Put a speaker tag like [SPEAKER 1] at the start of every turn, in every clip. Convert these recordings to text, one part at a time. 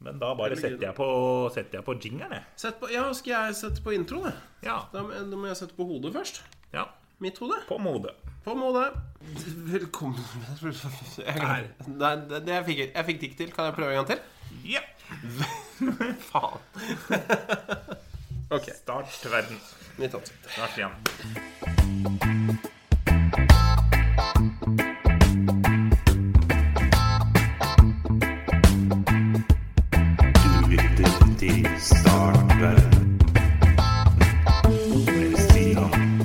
[SPEAKER 1] Men da bare
[SPEAKER 2] Det blir gøy,
[SPEAKER 1] setter jeg på, setter jeg på jingeren, jeg.
[SPEAKER 2] Sett på, ja, skal jeg sette på introen, jeg?
[SPEAKER 1] Ja.
[SPEAKER 2] Da, må- da må jeg sette på hodet først.
[SPEAKER 1] ja.
[SPEAKER 2] Mitt hode.
[SPEAKER 1] På mode.
[SPEAKER 2] På Molde. Velkommen Nei, det, det jeg fikk jeg fikk det ikke til. Kan jeg prøve en gang til?
[SPEAKER 1] Ja.
[SPEAKER 2] Faen. ok.
[SPEAKER 1] Start verden.
[SPEAKER 2] Nytt ansikt.
[SPEAKER 1] Start igjen.
[SPEAKER 3] Du lytter til Startverden med Stian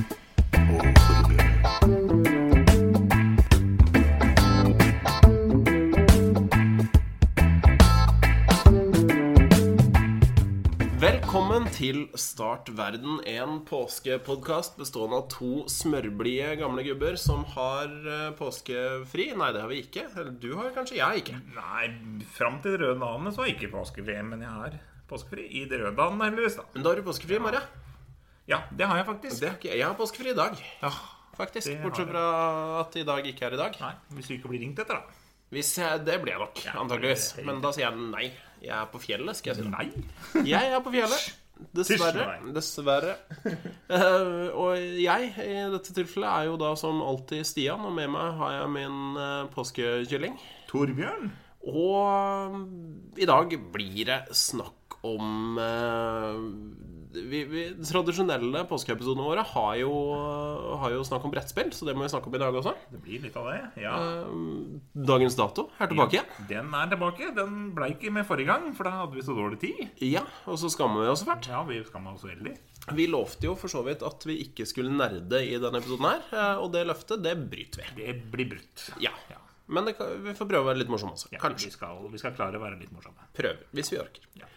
[SPEAKER 3] og Torbjørn.
[SPEAKER 2] Velkommen til Start verden, en påskepodkast bestående av to smørblide gamle gubber som har eh, påskefri. Nei, det har vi ikke. Eller du har kanskje, jeg har ikke.
[SPEAKER 1] Nei, fram til de røde dagene så var jeg ikke påskefri, men jeg har påskefri i de røde dagene, heldigvis. da.
[SPEAKER 2] Men da har du påskefri, Maria.
[SPEAKER 1] Ja, det har jeg faktisk.
[SPEAKER 2] Det har ikke jeg. Jeg har påskefri i dag,
[SPEAKER 1] Ja.
[SPEAKER 2] faktisk.
[SPEAKER 1] Det har
[SPEAKER 2] Bortsett
[SPEAKER 1] du.
[SPEAKER 2] fra at i dag ikke er i dag.
[SPEAKER 1] Nei, hvis du ikke blir ringt etter, da.
[SPEAKER 2] Hvis jeg, det blir jeg nok,
[SPEAKER 1] det-
[SPEAKER 2] antageligvis.
[SPEAKER 1] det-
[SPEAKER 2] Men da sier jeg nei. Jeg er på fjellet, skal jeg si.
[SPEAKER 1] Nei.
[SPEAKER 2] Jeg er på fjellet. Dessverre.
[SPEAKER 1] Tusen nei.
[SPEAKER 2] Dessverre. Eh, og jeg i dette tilfellet er jo da som alltid Stian, og med meg har jeg min eh, påskekylling.
[SPEAKER 1] Torbjørn?
[SPEAKER 2] Og mm, i dag blir det snakk om eh, vi, vi, De tradisjonelle påskeepisodene våre har jo, har jo snakk om brettspill, så det må vi snakke om i dag også.
[SPEAKER 1] Det blir litt av det, ja.
[SPEAKER 2] Dagens dato er tilbake igjen.
[SPEAKER 1] Den er tilbake. Den ble ikke med forrige gang, for da hadde vi så dårlig tid.
[SPEAKER 2] Ja, og så skammer vi oss fælt.
[SPEAKER 1] Ja, vi skamma oss veldig.
[SPEAKER 2] Vi lovte jo for så vidt at vi ikke skulle nerde i denne episoden her, eh, og det løftet, det bryter vi.
[SPEAKER 1] Det blir brutt.
[SPEAKER 2] Ja. Men det, kan- vi får prøve å være litt morsomme også.
[SPEAKER 1] Ja,
[SPEAKER 2] Kanskje.
[SPEAKER 1] Vi skal, vi skal klare å være litt morsomme.
[SPEAKER 2] Prøve, hvis vi orker.
[SPEAKER 1] Ja.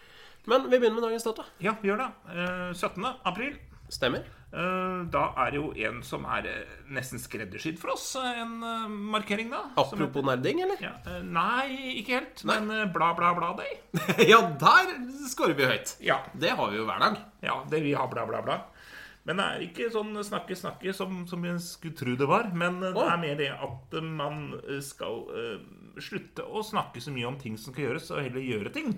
[SPEAKER 2] Men vi begynner med dagens dato.
[SPEAKER 1] Ja, vi gjør det. Eh, 17. april.
[SPEAKER 2] Stemmer.
[SPEAKER 1] Eh, Da er det jo en som er eh, nesten skreddersydd for oss, eh, en eh, markering, da. som
[SPEAKER 2] Apropos nerding, eller?
[SPEAKER 1] Ja, eh, nei, ikke helt. Men eh, bla, bla, bla day.
[SPEAKER 2] Ja, der scorer vi høyt.
[SPEAKER 1] Ja,
[SPEAKER 2] Det har vi jo hver dag.
[SPEAKER 1] ja det vi har bla, bla, bla. Men det er ikke sånn snakke-snakke som, som jeg skulle tro det var. Men eh, det
[SPEAKER 2] Å.
[SPEAKER 1] er mer det at eh, man eh, skal eh, slutte å snakke så mye om ting som skal gjøres, og heller gjøre ting.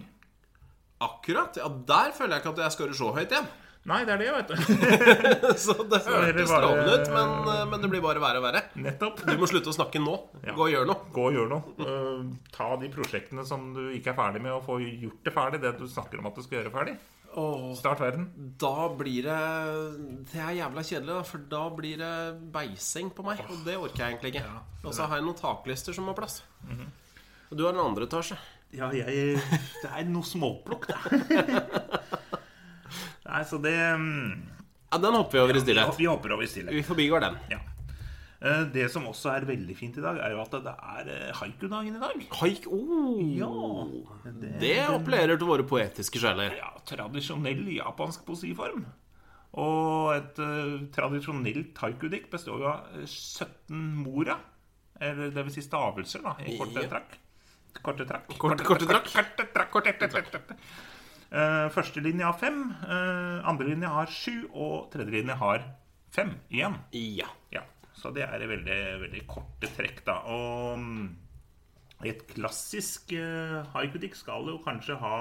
[SPEAKER 2] Akkurat. Ja, der føler jeg ikke at jeg scorer så høyt igjen.
[SPEAKER 1] Nei, det er det, vet du.
[SPEAKER 2] Så det
[SPEAKER 1] det
[SPEAKER 2] hørtes
[SPEAKER 1] bare-
[SPEAKER 2] lovende ut, men, eh, men det blir bare verre og verre.
[SPEAKER 1] Nettopp.
[SPEAKER 2] Du må slutte å snakke nå. Gå og gjør noe.
[SPEAKER 1] Gå og gjør noe. Eh, ta de prosjektene som du ikke er ferdig med, og få gjort det ferdig. Det du snakker om at du skal gjøre ferdig. Start verden.
[SPEAKER 2] Da blir det Det er jævla kjedelig, da, for da blir det beising på meg. Og det orker jeg egentlig ikke. Og så har jeg noen taklister som har plass.
[SPEAKER 1] Mhm.
[SPEAKER 2] Og du har den andre etasje.
[SPEAKER 1] Ja, jeg Det er noe småplukk, det. Nei, så det mm,
[SPEAKER 2] Ja, Den hopper vi over i
[SPEAKER 1] Ja,
[SPEAKER 2] stillhet.
[SPEAKER 1] vi hopper over i stillhet.
[SPEAKER 2] Vi forbigår den.
[SPEAKER 1] Ja. Eh, Det som også er veldig fint i dag, er jo at det er eh, haiku-dagen i dag.
[SPEAKER 2] Haik oh,
[SPEAKER 1] Det,
[SPEAKER 2] Det appellerer til våre poetiske sjeler.
[SPEAKER 1] eh, ja, tradisjonell japansk poesiform. Og et eh, tradisjonelt haiku-dikt består jo av eh, 17 mora. Eller det vil si stavelser, da, i korte
[SPEAKER 2] Ja.
[SPEAKER 1] trakk. Korte trakk.
[SPEAKER 2] Korte- korte trakk.
[SPEAKER 1] Korte trakk. Korte trakk. Eh, første linje har fem, eh, andre linje har sju, og tredje linje har fem igjen.
[SPEAKER 2] Ja.
[SPEAKER 1] Ja, så det er veldig, veldig korte trekk, da. Og mm, et klassisk eh, haikutikk skal jo kanskje ha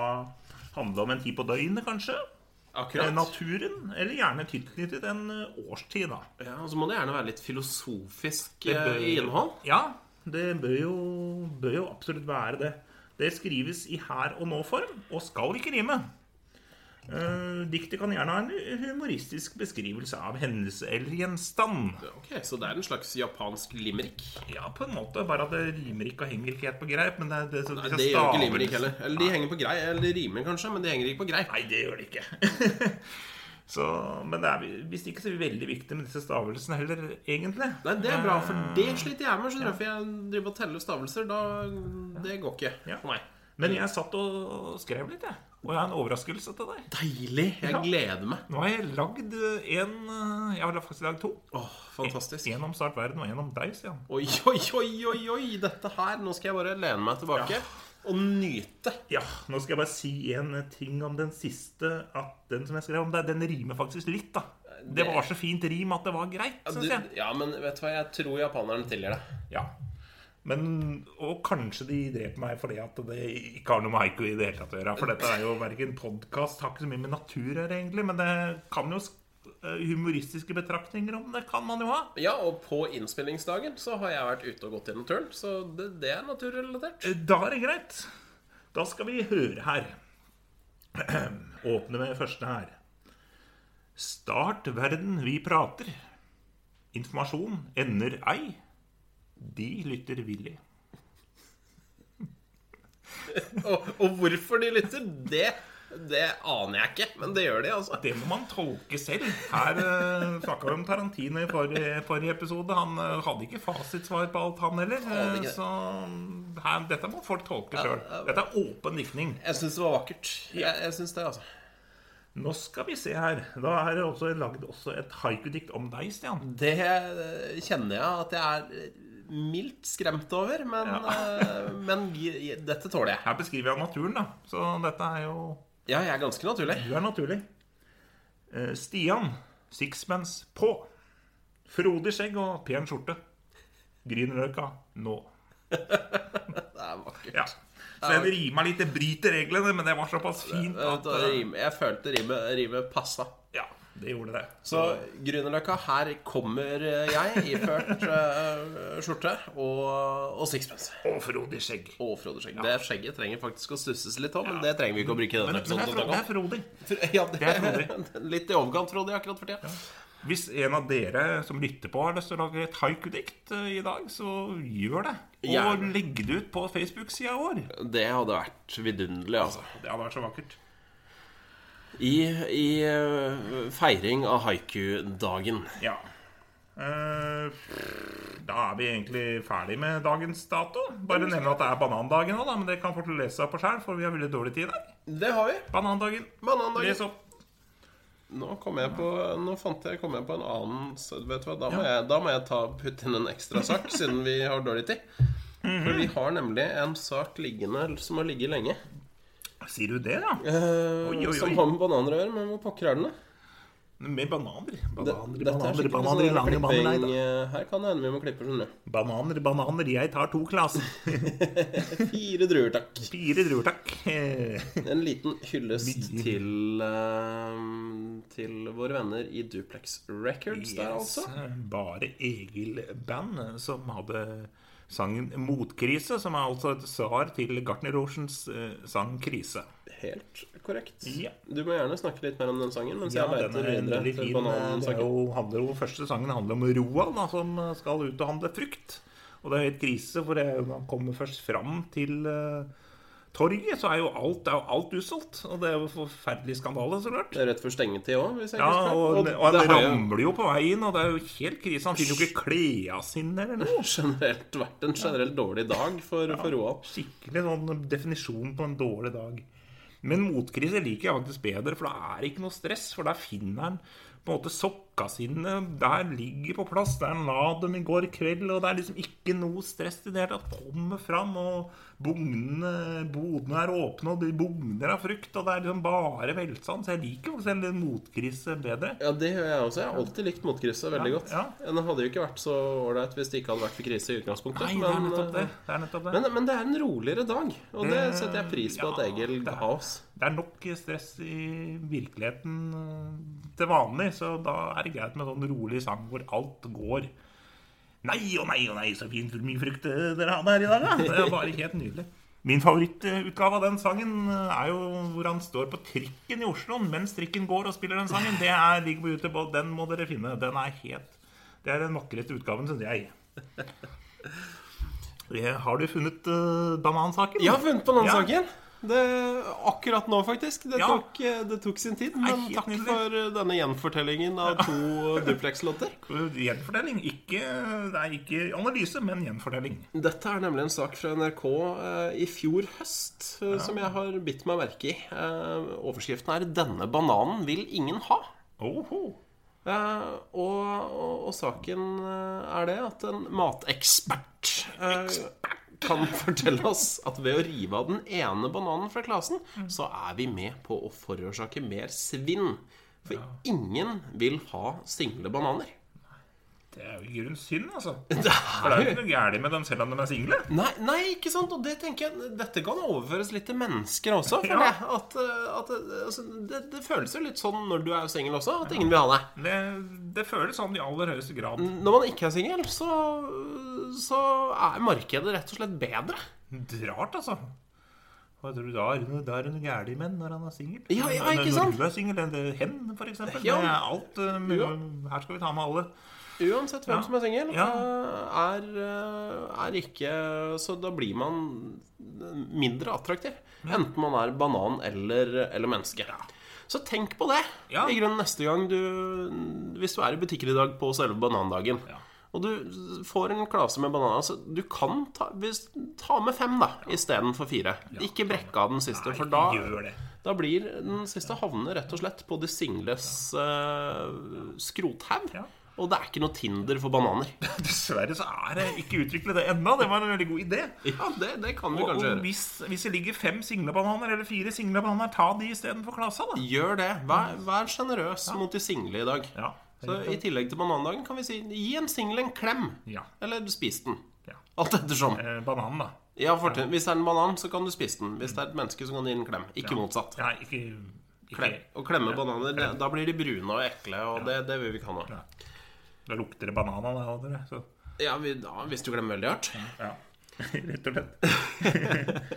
[SPEAKER 1] handle om en tid på døgnet, kanskje. Eh,
[SPEAKER 2] Akkurat.
[SPEAKER 1] Naturen, eller gjerne tilknyttet en eh, årstid, da.
[SPEAKER 2] Ja, og så må det gjerne være litt filosofisk
[SPEAKER 1] Det bør-
[SPEAKER 2] eh, i innhold.
[SPEAKER 1] Ja, det bør jo, bør jo absolutt være det. Det skrives i her og nå-form, og skal ikke rime. Eh, diktet kan gjerne ha en humoristisk beskrivelse av hendelse eller gjenstand.
[SPEAKER 2] Ok, Så det er en slags japansk limerick?
[SPEAKER 1] Ja, på en måte. Bare at det rimer ikke og henger ikke helt på greip. Men det, er- det, så-
[SPEAKER 2] Nei,
[SPEAKER 1] disse
[SPEAKER 2] det gjør ikke
[SPEAKER 1] stavelsene-
[SPEAKER 2] limerick heller. Eller de henger på grei, eller de rimer kanskje, men de henger ikke på grei.
[SPEAKER 1] Nei, det gjør det ikke. så, men det er visst ikke så veldig viktig med disse stavelsene heller, egentlig.
[SPEAKER 2] Nei, det er bra, for
[SPEAKER 1] Eh.
[SPEAKER 2] det sliter jeg med. Skjønner du, for jeg driver og teller stavelser. Da, det går ikke
[SPEAKER 1] Ja.
[SPEAKER 2] for meg.
[SPEAKER 1] Men jeg satt og skrev litt, jeg. Og jeg har en overraskelse til deg.
[SPEAKER 2] Deilig. Jeg
[SPEAKER 1] Ja.
[SPEAKER 2] gleder meg.
[SPEAKER 1] Nå har jeg lagd en eh, Jeg har faktisk lagd to.
[SPEAKER 2] Åh, fantastisk.
[SPEAKER 1] En om Start verden og en om deg, Stian.
[SPEAKER 2] Oi, oi, oi, oi, oi, dette her. Nå skal jeg bare lene meg tilbake og nyte.
[SPEAKER 1] Ja, nå skal jeg bare si en ting om den siste. At den som jeg skrev om deg, den rimer faktisk litt, da. Det var så fint rim at det var greit,
[SPEAKER 2] Ja,
[SPEAKER 1] syns Sånn jeg.
[SPEAKER 2] Du, ja, men vet du hva, jeg tror japaneren tilgir deg.
[SPEAKER 1] Ja. Men, og kanskje de dreper meg fordi at det ikke har noe med haiku i det hele tatt å gjøre. For dette er jo verken podkast, har ikke så mye med natur å gjøre, egentlig. Men det kan jo sk- eh, humoristiske betraktninger om det kan man jo ha.
[SPEAKER 2] Ja, og på innspillingsdagen så har jeg vært ute og gått gjennom turen, så det, det er naturrelatert.
[SPEAKER 1] Eh, Da er det greit. Da skal vi høre her. Åpne med første her. Start verden vi prater. Informasjon ender ei. De lytter villig.
[SPEAKER 2] Og, og hvorfor de lytter, det, det aner jeg ikke, men det gjør de, altså.
[SPEAKER 1] Det må man tolke selv. Her uh, snakka vi om Tarantino i forrige, forrige episode. Han eh, hadde ikke fasitsvar på alt, han heller.
[SPEAKER 2] hadde
[SPEAKER 1] Eh,
[SPEAKER 2] ikke det.
[SPEAKER 1] så her, dette må folk tolke sjøl.
[SPEAKER 2] ja.
[SPEAKER 1] Dette er åpen diktning.
[SPEAKER 2] Jeg syns det var vakkert. Jeg, jeg synes det, altså.
[SPEAKER 1] Nå skal vi se her. Da er det også lagd også et haikudikt om deg, Stian.
[SPEAKER 2] Det eh, kjenner jeg at jeg er mildt skremt over, men, eh, men gi- gi- dette tåler jeg.
[SPEAKER 1] Her beskriver jeg naturen, da. Så dette er jo
[SPEAKER 2] Ja, jeg er ganske naturlig.
[SPEAKER 1] Du er naturlig. Eh, Stian, sixpence på. Frodig skjegg og pen skjorte. Grünerløkka nå.
[SPEAKER 2] Det er vakkert.
[SPEAKER 1] Ja. Så jeg rima litt, jeg bryter reglene, men det var såpass fint
[SPEAKER 2] Vet
[SPEAKER 1] at
[SPEAKER 2] du, det Eh, rimer- Jeg følte rimet rimet passa.
[SPEAKER 1] Ja, det gjorde det.
[SPEAKER 2] Så Grünerløkka, her kommer jeg iført eh, skjorte og, og sixpence.
[SPEAKER 1] Og frodig skjegg.
[SPEAKER 2] Og Frode-skjegg. Det skjegget trenger faktisk å stusses litt om, men det trenger vi ikke å bruke i
[SPEAKER 1] Men
[SPEAKER 2] denne
[SPEAKER 1] men det er
[SPEAKER 2] episoden. til å
[SPEAKER 1] fro- det er frodig.
[SPEAKER 2] snakke om. Ja, det
[SPEAKER 1] er
[SPEAKER 2] Litt i overkant, Frode, akkurat for tida.
[SPEAKER 1] Hvis en av dere som lytter på, har lyst til å lage et haikudikt eh, i dag, så gjør det. Og
[SPEAKER 2] Gjerne.
[SPEAKER 1] legg det ut på Facebook-sida vår.
[SPEAKER 2] Det hadde vært vidunderlig, altså.
[SPEAKER 1] Det hadde vært så vakkert.
[SPEAKER 2] I, i eh, feiring av haiku-dagen.
[SPEAKER 1] Ja. Eh, Da er vi egentlig ferdig med dagens dato. Bare nevne at det er banandagen nå, da, men det kan folk lese på sjøl, for vi har veldig dårlig tid i dag.
[SPEAKER 2] Det har vi.
[SPEAKER 1] Banandagen. Les
[SPEAKER 2] Banandagen.
[SPEAKER 1] opp.
[SPEAKER 2] Nå kom jeg på Nå fant jeg, kom jeg på en annen så Vet du hva, da må jeg, da må jeg ta, putte inn en ekstra sak, siden vi har dårlig tid.
[SPEAKER 1] Mhm.
[SPEAKER 2] For vi har nemlig en sak liggende som har ligget lenge.
[SPEAKER 1] Sier du det, da?
[SPEAKER 2] eh,
[SPEAKER 1] Oi, oi, oi.
[SPEAKER 2] Som har med bananer å gjøre, men hvor pokker er den, da?
[SPEAKER 1] Med bananer.
[SPEAKER 2] Det-
[SPEAKER 1] Bananer,
[SPEAKER 2] dette er
[SPEAKER 1] bananer,
[SPEAKER 2] sikkert
[SPEAKER 1] bananer,
[SPEAKER 2] sånn
[SPEAKER 1] bananer, bananer,
[SPEAKER 2] klipping, eh, Her kan det hende vi må klippe, skjønner du.
[SPEAKER 1] bananer, bananer. Jeg tar to glass.
[SPEAKER 2] Fire druer, takk.
[SPEAKER 1] Fire druer, takk. Eh,
[SPEAKER 2] En liten hyllest til, eh, til våre venner i Duplex Records der, altså.
[SPEAKER 1] Bare Egil Band eh, som hadde sangen 'Motkrise', som er altså et svar til Gartner Oceans eh, sang 'Krise'.
[SPEAKER 2] Helt korrekt.
[SPEAKER 1] Ja.
[SPEAKER 2] Du må gjerne snakke litt mer om den sangen mens
[SPEAKER 1] Ja,
[SPEAKER 2] jeg
[SPEAKER 1] den
[SPEAKER 2] leter
[SPEAKER 1] er
[SPEAKER 2] videre
[SPEAKER 1] veldig
[SPEAKER 2] til
[SPEAKER 1] fin. eh, Det er
[SPEAKER 2] banansaken.
[SPEAKER 1] jo, handler jo, første sangen handler om Roald, da, som eh, skal ut og handle frukt. Og det er helt krise, for det, man kommer først fram til eh, torget, så er jo alt, det er jo alt usolgt. Og det er jo forferdelig skandale, så klart.
[SPEAKER 2] Det er rett før stengetid òg, hvis jeg
[SPEAKER 1] Ja,
[SPEAKER 2] ikke husker
[SPEAKER 1] og,
[SPEAKER 2] feil.
[SPEAKER 1] og
[SPEAKER 2] det
[SPEAKER 1] han
[SPEAKER 2] har jo
[SPEAKER 1] ramler jo på veien, og det er jo helt krise. Han finner jo ikke klærne sine eller noe.
[SPEAKER 2] generelt vært en generelt dårlig dag for, for Roald.
[SPEAKER 1] Skikkelig sånn definisjon på en dårlig dag. Men motkrise liker jeg faktisk bedre, for da er det ikke noe stress. For der finner han på en måte sokka sine. Der ligger på plass. Der han la dem i går kveld. Og det er liksom ikke noe stress i det hele tatt. Kommer fram, og bugnene, bodene er åpne, og de bugner av frukt. Og det er liksom bare velstand. Så jeg liker faktisk en litt motkrise bedre.
[SPEAKER 2] Ja, det gjør jeg også. Jeg har alltid likt motkrysset veldig
[SPEAKER 1] Ja,
[SPEAKER 2] godt.
[SPEAKER 1] ja.
[SPEAKER 2] Den hadde jo ikke vært så ålreit hvis det ikke hadde vært for krise i utgangspunktet.
[SPEAKER 1] Nei, det er nettopp det.
[SPEAKER 2] eh,
[SPEAKER 1] det, er nettopp det.
[SPEAKER 2] Men, men det er en roligere dag, og det setter jeg pris på at
[SPEAKER 1] ja,
[SPEAKER 2] Egil
[SPEAKER 1] det er-
[SPEAKER 2] ga oss.
[SPEAKER 1] Det er nok stress i virkeligheten eh, til vanlig, så da er det greit med en sånn rolig sang hvor alt går. Nei og nei og nei, så fint hvor mye frukt eh, dere hadde her i dag, da. Det er bare helt nydelig. Min favorittutgave av den sangen eh, er jo hvor han står på trikken i Oslo mens trikken går og spiller den sangen. Det er ligger på YouTube, og den må dere finne. Den er helt Det er den vakreste utgaven, syns jeg. Eh, Har du funnet eh, banansaken?
[SPEAKER 2] Jeg har funnet på den
[SPEAKER 1] Ja.
[SPEAKER 2] saken. Det, akkurat nå, faktisk. Det,
[SPEAKER 1] Ja.
[SPEAKER 2] tok, eh, det tok sin tid. Men
[SPEAKER 1] helt
[SPEAKER 2] takk
[SPEAKER 1] nydelig.
[SPEAKER 2] for eh, denne gjenfortellingen av to Duplex-låter.
[SPEAKER 1] Gjenfortelling. Ikke, det er ikke analyse, men gjenfortelling.
[SPEAKER 2] Dette er nemlig en sak fra NRK eh, i fjor høst eh, som jeg har bitt meg merke i. Eh, overskriften er 'Denne bananen vil ingen ha'.
[SPEAKER 1] Oho.
[SPEAKER 2] Eh, og, og, og saken eh, er det at en matekspert eh, kan fortelle oss at ved å rive av den ene bananen fra klasen, så er vi med på å forårsake mer svinn. For ingen vil ha single bananer.
[SPEAKER 1] Det er jo i grunnen synd, altså. For
[SPEAKER 2] Det
[SPEAKER 1] det
[SPEAKER 2] er
[SPEAKER 1] er jo
[SPEAKER 2] jo
[SPEAKER 1] ikke noe gærent med dem selv om de er single.
[SPEAKER 2] Nei, nei, ikke sant? Og det tenker jeg, dette kan overføres litt til mennesker også. føler
[SPEAKER 1] Ja.
[SPEAKER 2] jeg. At, eh, at, eh, altså, det, det føles jo litt sånn når du er singel også, at ingen vil ha deg.
[SPEAKER 1] Det, det føles sånn i aller høyeste grad.
[SPEAKER 2] Når man ikke er singel, så, så er markedet rett og slett bedre.
[SPEAKER 1] Det er Rart, altså. Hva tror du da er det- Da er det noe gærent med når han er singel?
[SPEAKER 2] Ja, ja,
[SPEAKER 1] Men
[SPEAKER 2] ikke
[SPEAKER 1] når
[SPEAKER 2] sant?
[SPEAKER 1] du er singel, det er hen, for eksempel.
[SPEAKER 2] Ja.
[SPEAKER 1] Det er alt eh, mye- Her skal vi ta med alle.
[SPEAKER 2] Uansett hvem
[SPEAKER 1] Ja.
[SPEAKER 2] som er singel,
[SPEAKER 1] Ja.
[SPEAKER 2] eh, er, eh, er ikke Så da blir man mindre attraktiv. Enten man er banan eller, eller menneske. Så tenk på det
[SPEAKER 1] Ja.
[SPEAKER 2] i grunnen neste gang du Hvis du er i butikker i dag på selve banandagen,
[SPEAKER 1] Ja.
[SPEAKER 2] og du får en klase med bananer så Du kan ta, hvis, ta med fem da istedenfor fire. Ikke brekke av den siste, for da
[SPEAKER 1] Gjør det.
[SPEAKER 2] da blir den siste havne rett og slett på de singles eh, skrothaug.
[SPEAKER 1] Ja.
[SPEAKER 2] Og det er ikke noe Tinder for bananer.
[SPEAKER 1] Dessverre så er det ikke utviklet det ennå. Det var en veldig god idé.
[SPEAKER 2] Ja, det, det kan vi
[SPEAKER 1] Og,
[SPEAKER 2] kanskje
[SPEAKER 1] og
[SPEAKER 2] gjøre.
[SPEAKER 1] hvis, hvis det ligger fem singlebananer eller fire singlebananer, ta de istedenfor klasa, da.
[SPEAKER 2] Gjør det. Vær, vær sjenerøs mot de single i dag.
[SPEAKER 1] Ja.
[SPEAKER 2] Så I tillegg til banandagen kan vi si gi en singel en klem.
[SPEAKER 1] Ja.
[SPEAKER 2] Eller spis den.
[SPEAKER 1] Ja.
[SPEAKER 2] Alt ettersom.
[SPEAKER 1] Eh, bananen, da.
[SPEAKER 2] Ja, fortell- Hvis det er en banan, så kan du spise den. Hvis det er et menneske, så kan du gi den en klem. Ikke motsatt.
[SPEAKER 1] Ja, ikke, ikke
[SPEAKER 2] Klem. Å klemme bananer, det, da blir de brune og ekle, og det, det vil vi ikke ha nå.
[SPEAKER 1] Da lukter det banan av deg, dere. Så.
[SPEAKER 2] Ja, vi, ja, hvis du klemmer veldig hardt.
[SPEAKER 1] Ja. Rett og slett.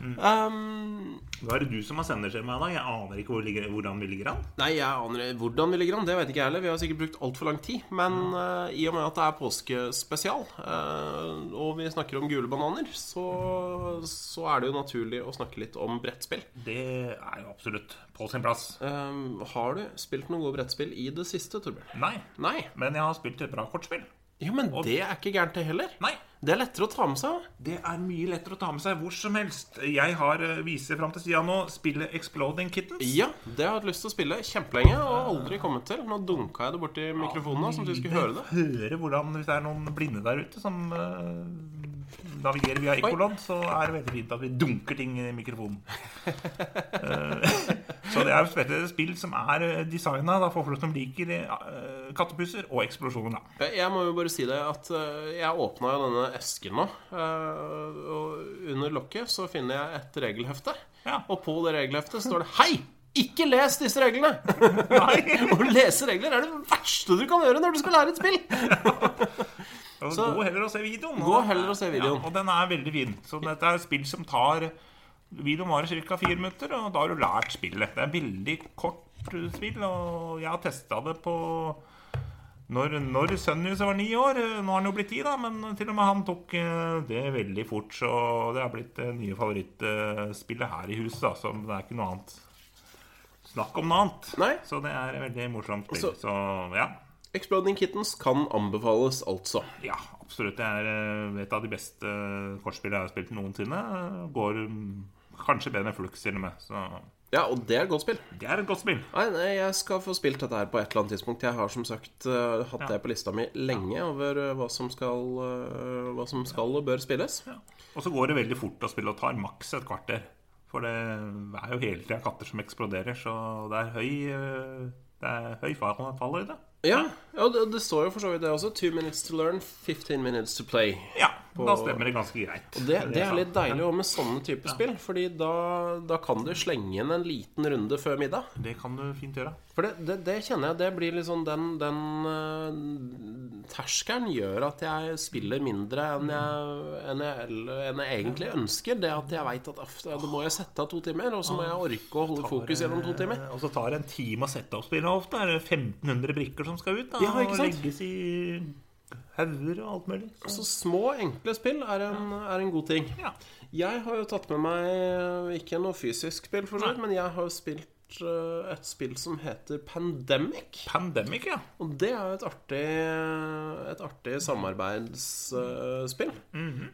[SPEAKER 2] Um,
[SPEAKER 1] Hva er det du som har sendeskjemaet i dag? Jeg aner ikke hvor ligger, hvordan vi ligger an.
[SPEAKER 2] Nei, jeg aner Hvordan vi ligger an, det vet ikke jeg heller. Vi har sikkert brukt altfor lang tid. Men eh, i og med at det er påskespesial, eh, og vi snakker om gule bananer, så, så er det jo naturlig å snakke litt om brettspill.
[SPEAKER 1] Det er jo absolutt på sin plass.
[SPEAKER 2] Eh, har du spilt noen gode brettspill i det siste, Torbjørn?
[SPEAKER 1] Nei.
[SPEAKER 2] Nei?
[SPEAKER 1] Men jeg har spilt et bra kortspill.
[SPEAKER 2] Jo, men det er ikke gærent, det heller.
[SPEAKER 1] Nei.
[SPEAKER 2] Det er lettere å ta med seg.
[SPEAKER 1] Det er mye lettere å ta med seg hvor som helst. Jeg har, eh, viser fram til sida nå, spillet Exploding Kittens.
[SPEAKER 2] Ja, det har jeg hatt lyst til å spille kjempelenge og aldri kommet til. Nå dunka jeg det borti mikrofonen, nå, sånn at du skulle høre det.
[SPEAKER 1] Høre hvordan, Hvis det er noen blinde der ute som eh, navigerer via ekkolodd, så er det veldig fint at vi dunker ting i mikrofonen. Eh, så det er jo et spill som er designa for folk som liker eh, kattepusser og eksplosjoner. da.
[SPEAKER 2] Jeg Eh, jeg må jo bare si det at eh, jeg åpna jo denne esken nå. eh, Og under lokket så finner jeg et regelhefte.
[SPEAKER 1] Ja.
[SPEAKER 2] Og på det regelheftet står det 'Hei! Ikke les disse reglene!'
[SPEAKER 1] Nei.
[SPEAKER 2] Å lese regler er det verste du kan gjøre når du skal lære et spill!
[SPEAKER 1] Og
[SPEAKER 2] Så-
[SPEAKER 1] gå heller og se videoen.
[SPEAKER 2] Gå heller og se videoen.
[SPEAKER 1] Ja, og den er veldig fin. Så dette er et spill som tar Videoen varer ca. fire minutter, og da har du lært spillet. Det er veldig kort eh, spill, og jeg har testa det på når, når sønnen min var ni år eh, Nå har han jo blitt ti, da, men til og med han tok eh, det veldig fort. Så det er blitt det nye favorittspillet her i huset, da, så det er ikke noe annet snakk om noe annet.
[SPEAKER 2] Nei.
[SPEAKER 1] Så det er et veldig morsomt spill.
[SPEAKER 2] Så-
[SPEAKER 1] Så ja.
[SPEAKER 2] Exploding Kittens kan anbefales, altså.
[SPEAKER 1] Ja, absolutt. Det er eh, et av de beste kortspillene jeg har spilt noensinne. Går mm, kanskje bedre enn Flux til og med. Så
[SPEAKER 2] Ja, og det er et godt spill.
[SPEAKER 1] det er et godt spill.
[SPEAKER 2] Nei, nei, jeg skal få spilt dette her på et eller annet tidspunkt. Jeg har som sagt eh, hatt det på lista mi lenge over eh, hva som skal, eh, hva som skal og bør spilles.
[SPEAKER 1] Og så går det veldig fort å spille og tar maks et kvarter. For det er jo hele tida katter som eksploderer, så det er høy, eh, det er høy fall- fallhøyde.
[SPEAKER 2] Ja, ja det, det står jo for så vidt det også. Two minutes to learn, 15 minutes to play.
[SPEAKER 1] Ja, da stemmer det ganske greit.
[SPEAKER 2] Det, det er
[SPEAKER 1] sant.
[SPEAKER 2] litt deilig også med sånne typer spill, Fordi da, da kan du slenge inn en liten runde før middag.
[SPEAKER 1] Det kan du fint gjøre.
[SPEAKER 2] For det, det, det kjenner jeg, det blir liksom den, den eh, Terskelen gjør at jeg spiller mindre enn jeg, enn jeg, eller- enn jeg egentlig ønsker. Det at jeg veit at aff, da må jeg sette av to timer, og så må jeg orke å holde fokus gjennom to timer.
[SPEAKER 1] Eh, Og så tar det en time å sette opp spillet ofte. Er det 1500 brikker som skal ut? Da,
[SPEAKER 2] Ja, ikke sant?
[SPEAKER 1] Og legges i hauger og alt mulig.
[SPEAKER 2] Så små, enkle spill er en, er en god ting.
[SPEAKER 1] Ja.
[SPEAKER 2] Jeg har jo tatt med meg eh, ikke noe fysisk spill, for så vidt, men jeg har jo spilt eh, et spill som heter Pandemic.
[SPEAKER 1] Pandemic, ja.
[SPEAKER 2] Og det er jo et artig, eh, et artig samarbeidsspill.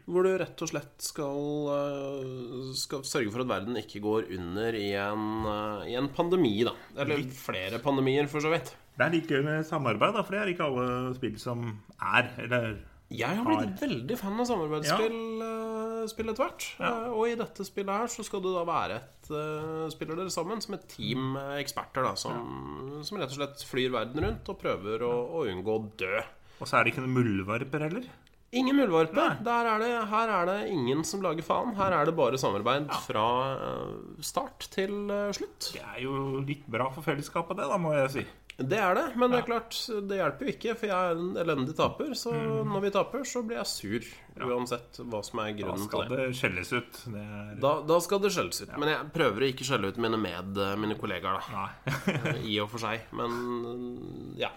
[SPEAKER 2] Hvor du rett og slett skal, eh, skal sørge for at verden ikke går under i en, eh, i en pandemi, da. Eller flere pandemier, for så vidt.
[SPEAKER 1] Det er litt gøy med samarbeid, da, for det er ikke alle spill som er. Eller
[SPEAKER 2] Jeg har blitt veldig fan av samarbeidsspill eh, spill etter hvert. Eh, Og i dette spillet her så skal du da være et eh, Spiller dere sammen som et team eh, eksperter da som, som rett og slett flyr verden rundt og prøver å, å unngå å dø.
[SPEAKER 1] Og så er det ikke noen muldvarper heller.
[SPEAKER 2] Ingen muldvarpe. Der er det, her er det ingen som lager faen. Her er det bare samarbeid fra eh, start til eh, slutt.
[SPEAKER 1] Det er jo litt bra for fellesskapet, det, da, må jeg si.
[SPEAKER 2] Det er det, men det er klart, det hjelper jo ikke, for jeg er en elendig taper. Så når vi taper, så blir jeg sur. Uansett Mm. hva som er
[SPEAKER 1] Da
[SPEAKER 2] grunnen
[SPEAKER 1] skal
[SPEAKER 2] til det.
[SPEAKER 1] det skjelles ut. Det er
[SPEAKER 2] Da, da skal det skjelles ut. Men jeg prøver å ikke skjelle ut mine med eh, mine kollegaer, da.
[SPEAKER 1] Nei.
[SPEAKER 2] I og for seg. Men eh, ja.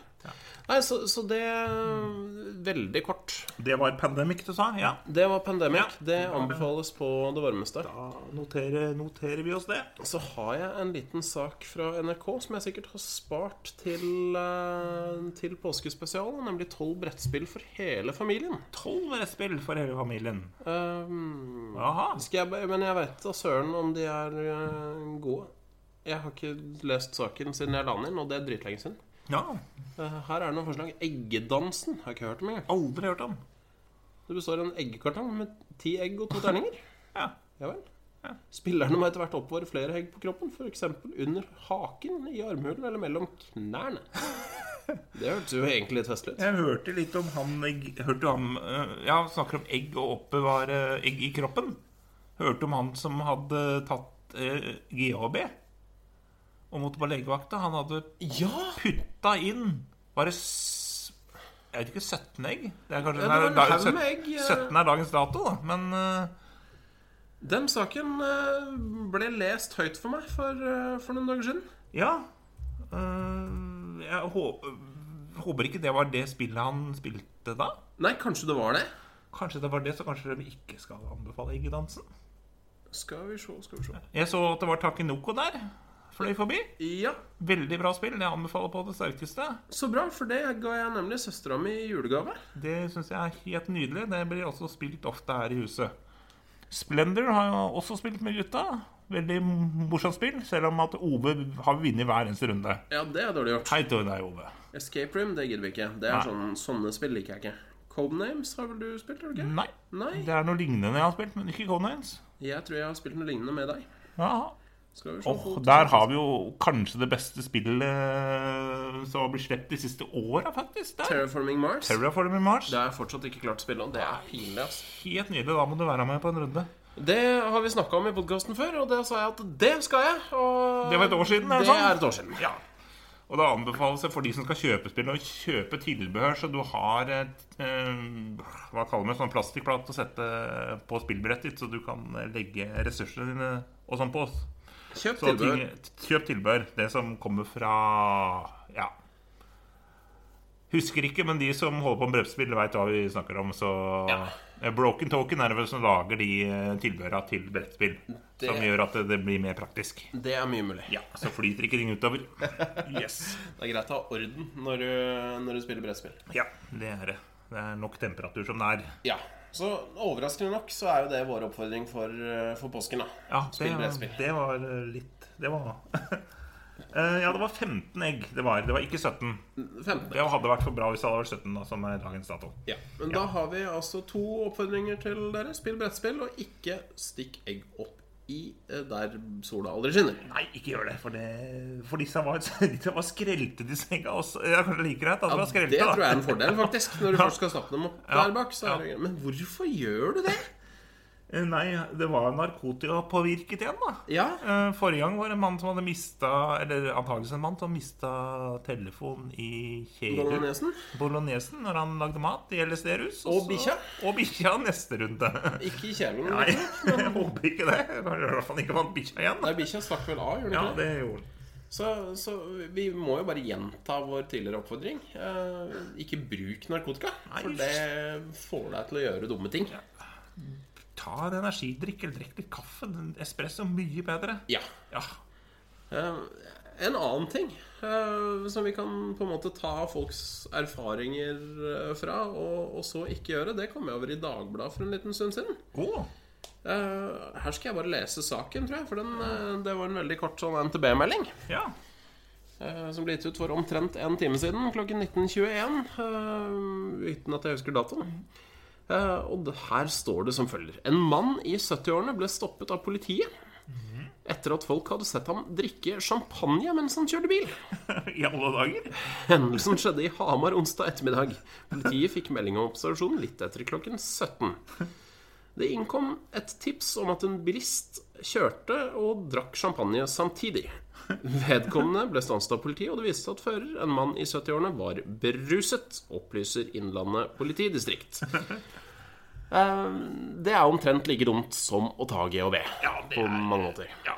[SPEAKER 2] Nei, så, så det eh, Veldig kort.
[SPEAKER 1] Det var pandemic du sa? Ja.
[SPEAKER 2] Det var Pandemic.
[SPEAKER 1] Ja.
[SPEAKER 2] Det anbefales på det varmeste.
[SPEAKER 1] Da noterer, noterer vi oss det.
[SPEAKER 2] Så har jeg en liten sak fra NRK som jeg sikkert har spart til, eh, til påskespesialen. Nemlig tolv brettspill for hele familien.
[SPEAKER 1] Tolv spill for hele familien.
[SPEAKER 2] Eh,
[SPEAKER 1] Jaha.
[SPEAKER 2] skal jeg, bare- men jeg veit da søren om de er eh, gode. Jeg har ikke lest saken siden jeg la den inn, og det er dritlenge siden.
[SPEAKER 1] Ja.
[SPEAKER 2] Eh, her er det noen forslag. Eggedansen har jeg ikke hørt om engang.
[SPEAKER 1] Aldri hørt om.
[SPEAKER 2] Det består av en eggekartong med ti egg og to terninger.
[SPEAKER 1] Ja.
[SPEAKER 2] Ja vel. Spillerne må etter hvert oppbevare flere egg på kroppen, f.eks. under haken, i armhulen eller mellom knærne. Det hørtes jo egentlig litt festlig ut.
[SPEAKER 1] Jeg hørte litt om han egg, hørte jo han, eh, Ja, snakker om egg og oppbevare egg i kroppen. Hørte om han som hadde tatt eh, GHB og måtte på legevakta. Han hadde
[SPEAKER 2] Ja!
[SPEAKER 1] putta inn bare s- Jeg vet ikke 17 egg? Det er kanskje
[SPEAKER 2] Ja, det var en
[SPEAKER 1] da-
[SPEAKER 2] haug
[SPEAKER 1] søt-
[SPEAKER 2] med egg, eh.
[SPEAKER 1] 17 er dagens dato, da. Men eh,
[SPEAKER 2] Den saken eh, ble lest høyt for meg for, eh, for noen dager siden.
[SPEAKER 1] ja Eh, Jeg håper, håper ikke det var det spillet han spilte da.
[SPEAKER 2] Nei, kanskje det var det?
[SPEAKER 1] Kanskje det var det, så kanskje vi ikke skal anbefale eggedansen.
[SPEAKER 2] Skal vi se, skal vi se.
[SPEAKER 1] Jeg så at det var Takinoko der. Fløy forbi.
[SPEAKER 2] Ja,
[SPEAKER 1] Veldig bra spill. Jeg anbefaler på det sterkeste.
[SPEAKER 2] så bra, for det ga jeg nemlig søstera mi i julegave.
[SPEAKER 1] Det syns jeg er helt nydelig. Det blir også spilt ofte her i huset. Splendor har jeg også spilt med gutta. Veldig morsomt spill, selv om at Ove har vunnet hver eneste runde.
[SPEAKER 2] Ja, det er dårlig gjort.
[SPEAKER 1] Hei til deg, Ove.
[SPEAKER 2] Escape Room, det gidder vi ikke. Det
[SPEAKER 1] Nei.
[SPEAKER 2] er sånn, Sånne spill liker jeg ikke. Codenames har vel du spilt, har du ikke?
[SPEAKER 1] Nei.
[SPEAKER 2] Nei.
[SPEAKER 1] Det er noe lignende jeg har spilt, men ikke Conains.
[SPEAKER 2] Jeg tror jeg har spilt noe lignende med deg.
[SPEAKER 1] Ja.
[SPEAKER 2] Skal vi se
[SPEAKER 1] Oh,
[SPEAKER 2] på-
[SPEAKER 1] der har vi jo kanskje det beste spillet som har blitt sluppet de siste åra, faktisk. Der.
[SPEAKER 2] Terraforming Mars.
[SPEAKER 1] Terraforming Mars.
[SPEAKER 2] det er jeg fortsatt ikke klart å spille, og det er pinlig. ass.
[SPEAKER 1] Helt nydelig. Da må du være med på en runde.
[SPEAKER 2] Det har vi snakka om i podkasten før, og det sa jeg at det skal jeg. Og
[SPEAKER 1] Det var et år siden, er
[SPEAKER 2] det
[SPEAKER 1] det sånn?
[SPEAKER 2] er et år siden.
[SPEAKER 1] Ja. Og det anbefales for de som skal kjøpe spill, å kjøpe tilbehør så du har et eh, Hva kaller vi sånn plastikkplate å sette på spillbrettet ditt, så du kan legge ressursene dine og sånn på oss.
[SPEAKER 2] Kjøp
[SPEAKER 1] Så ting,
[SPEAKER 2] tilbud.
[SPEAKER 1] kjøp tilbehør. Det som kommer fra Ja. Husker ikke, men de som holder på med brettspill, veit hva vi snakker om. Så Eh, Broken Token er det vel som lager de eh, tilbehøra til brettspill. Som gjør at det, det blir mer praktisk.
[SPEAKER 2] Det er mye mulig.
[SPEAKER 1] Ja, så flyter ikke ting utover. Yes.
[SPEAKER 2] Det er greit å ha orden når du, når du spiller brettspill.
[SPEAKER 1] Ja, det er det. Det er nok temperatur som det er.
[SPEAKER 2] Ja. Så overraskende nok så er jo det vår oppfordring for, eh, for påsken, da.
[SPEAKER 1] Ja, det,
[SPEAKER 2] Spill brettspill.
[SPEAKER 1] det var litt Det var Eh, Ja, det var 15 egg. Det var, det var ikke 17.
[SPEAKER 2] 15.
[SPEAKER 1] Det hadde vært for bra hvis det hadde vært 17, da, som er dagens dato.
[SPEAKER 2] Ja. Men da har vi altså to oppfordringer til dere. Spill brettspill, og ikke stikk egg opp i eh, der sola aldri skinner.
[SPEAKER 1] Nei, ikke gjør det, for, det, for disse var, disse var skrelte, disse egga også. Ja, kanskje like greit at de var skrelte,
[SPEAKER 2] Det
[SPEAKER 1] da.
[SPEAKER 2] tror jeg er en fordel, faktisk. Når du først skal snappe dem opp der bak. Så er det greit. Men hvorfor gjør du det?
[SPEAKER 1] Eh, Nei, det var narkotikapåvirket igjen, da.
[SPEAKER 2] Ja,
[SPEAKER 1] Eh, Forrige gang var det en mann som hadde mista Eller antakeligvis en mann som mista telefonen i kjedet.
[SPEAKER 2] bolognesen.
[SPEAKER 1] Bolognesen når han lagde mat i LSD-rus.
[SPEAKER 2] Og
[SPEAKER 1] så-
[SPEAKER 2] bikkja.
[SPEAKER 1] Og bikkja neste runde.
[SPEAKER 2] Ikke i kjelen.
[SPEAKER 1] Nei, jeg håper ikke det. Jeg håper i hvert fall ikke vant bikkja igjen.
[SPEAKER 2] Nei, bikkja stakk vel av, gjorde den
[SPEAKER 1] Ja,
[SPEAKER 2] ikke det?
[SPEAKER 1] det gjorde han.
[SPEAKER 2] Så, så vi må jo bare gjenta vår tidligere oppfordring. Eh, ikke bruk narkotika, for
[SPEAKER 1] Nei.
[SPEAKER 2] det får deg til å gjøre dumme ting.
[SPEAKER 1] Ta en energidrikk eller drikk litt kaffe. En Espresso er mye bedre.
[SPEAKER 2] Ja.
[SPEAKER 1] Ja.
[SPEAKER 2] Eh, en annen ting eh, som vi kan på en måte ta folks erfaringer eh, fra, og, og så ikke gjøre, det kom jeg over i Dagbladet for en liten stund siden.
[SPEAKER 1] Å,
[SPEAKER 2] Eh, her skal jeg bare lese saken, tror jeg, for den, eh, det var en veldig kort sånn NTB-melding.
[SPEAKER 1] ja.
[SPEAKER 2] eh, som ble gitt ut for omtrent en time siden, klokken 19.21. eh, uten at jeg husker datoen. Eh, og det, her står det som følger. En mann i 70-årene ble stoppet av politiet etter at folk hadde sett ham drikke champagne mens han kjørte bil.
[SPEAKER 1] I alle dager?
[SPEAKER 2] Hendelsen skjedde i Hamar onsdag ettermiddag. Politiet fikk melding om observasjonen litt etter klokken 17. Det innkom et tips om at en bilist kjørte og drakk champagne samtidig. Vedkommende ble stanset av politiet, og det viste seg at fører, en mann i 70-årene, var beruset, opplyser Innlandet politidistrikt. Eh, Det er omtrent like dumt som å ta GHB
[SPEAKER 1] Ja, det
[SPEAKER 2] på
[SPEAKER 1] er-
[SPEAKER 2] mange måter.
[SPEAKER 1] Ja.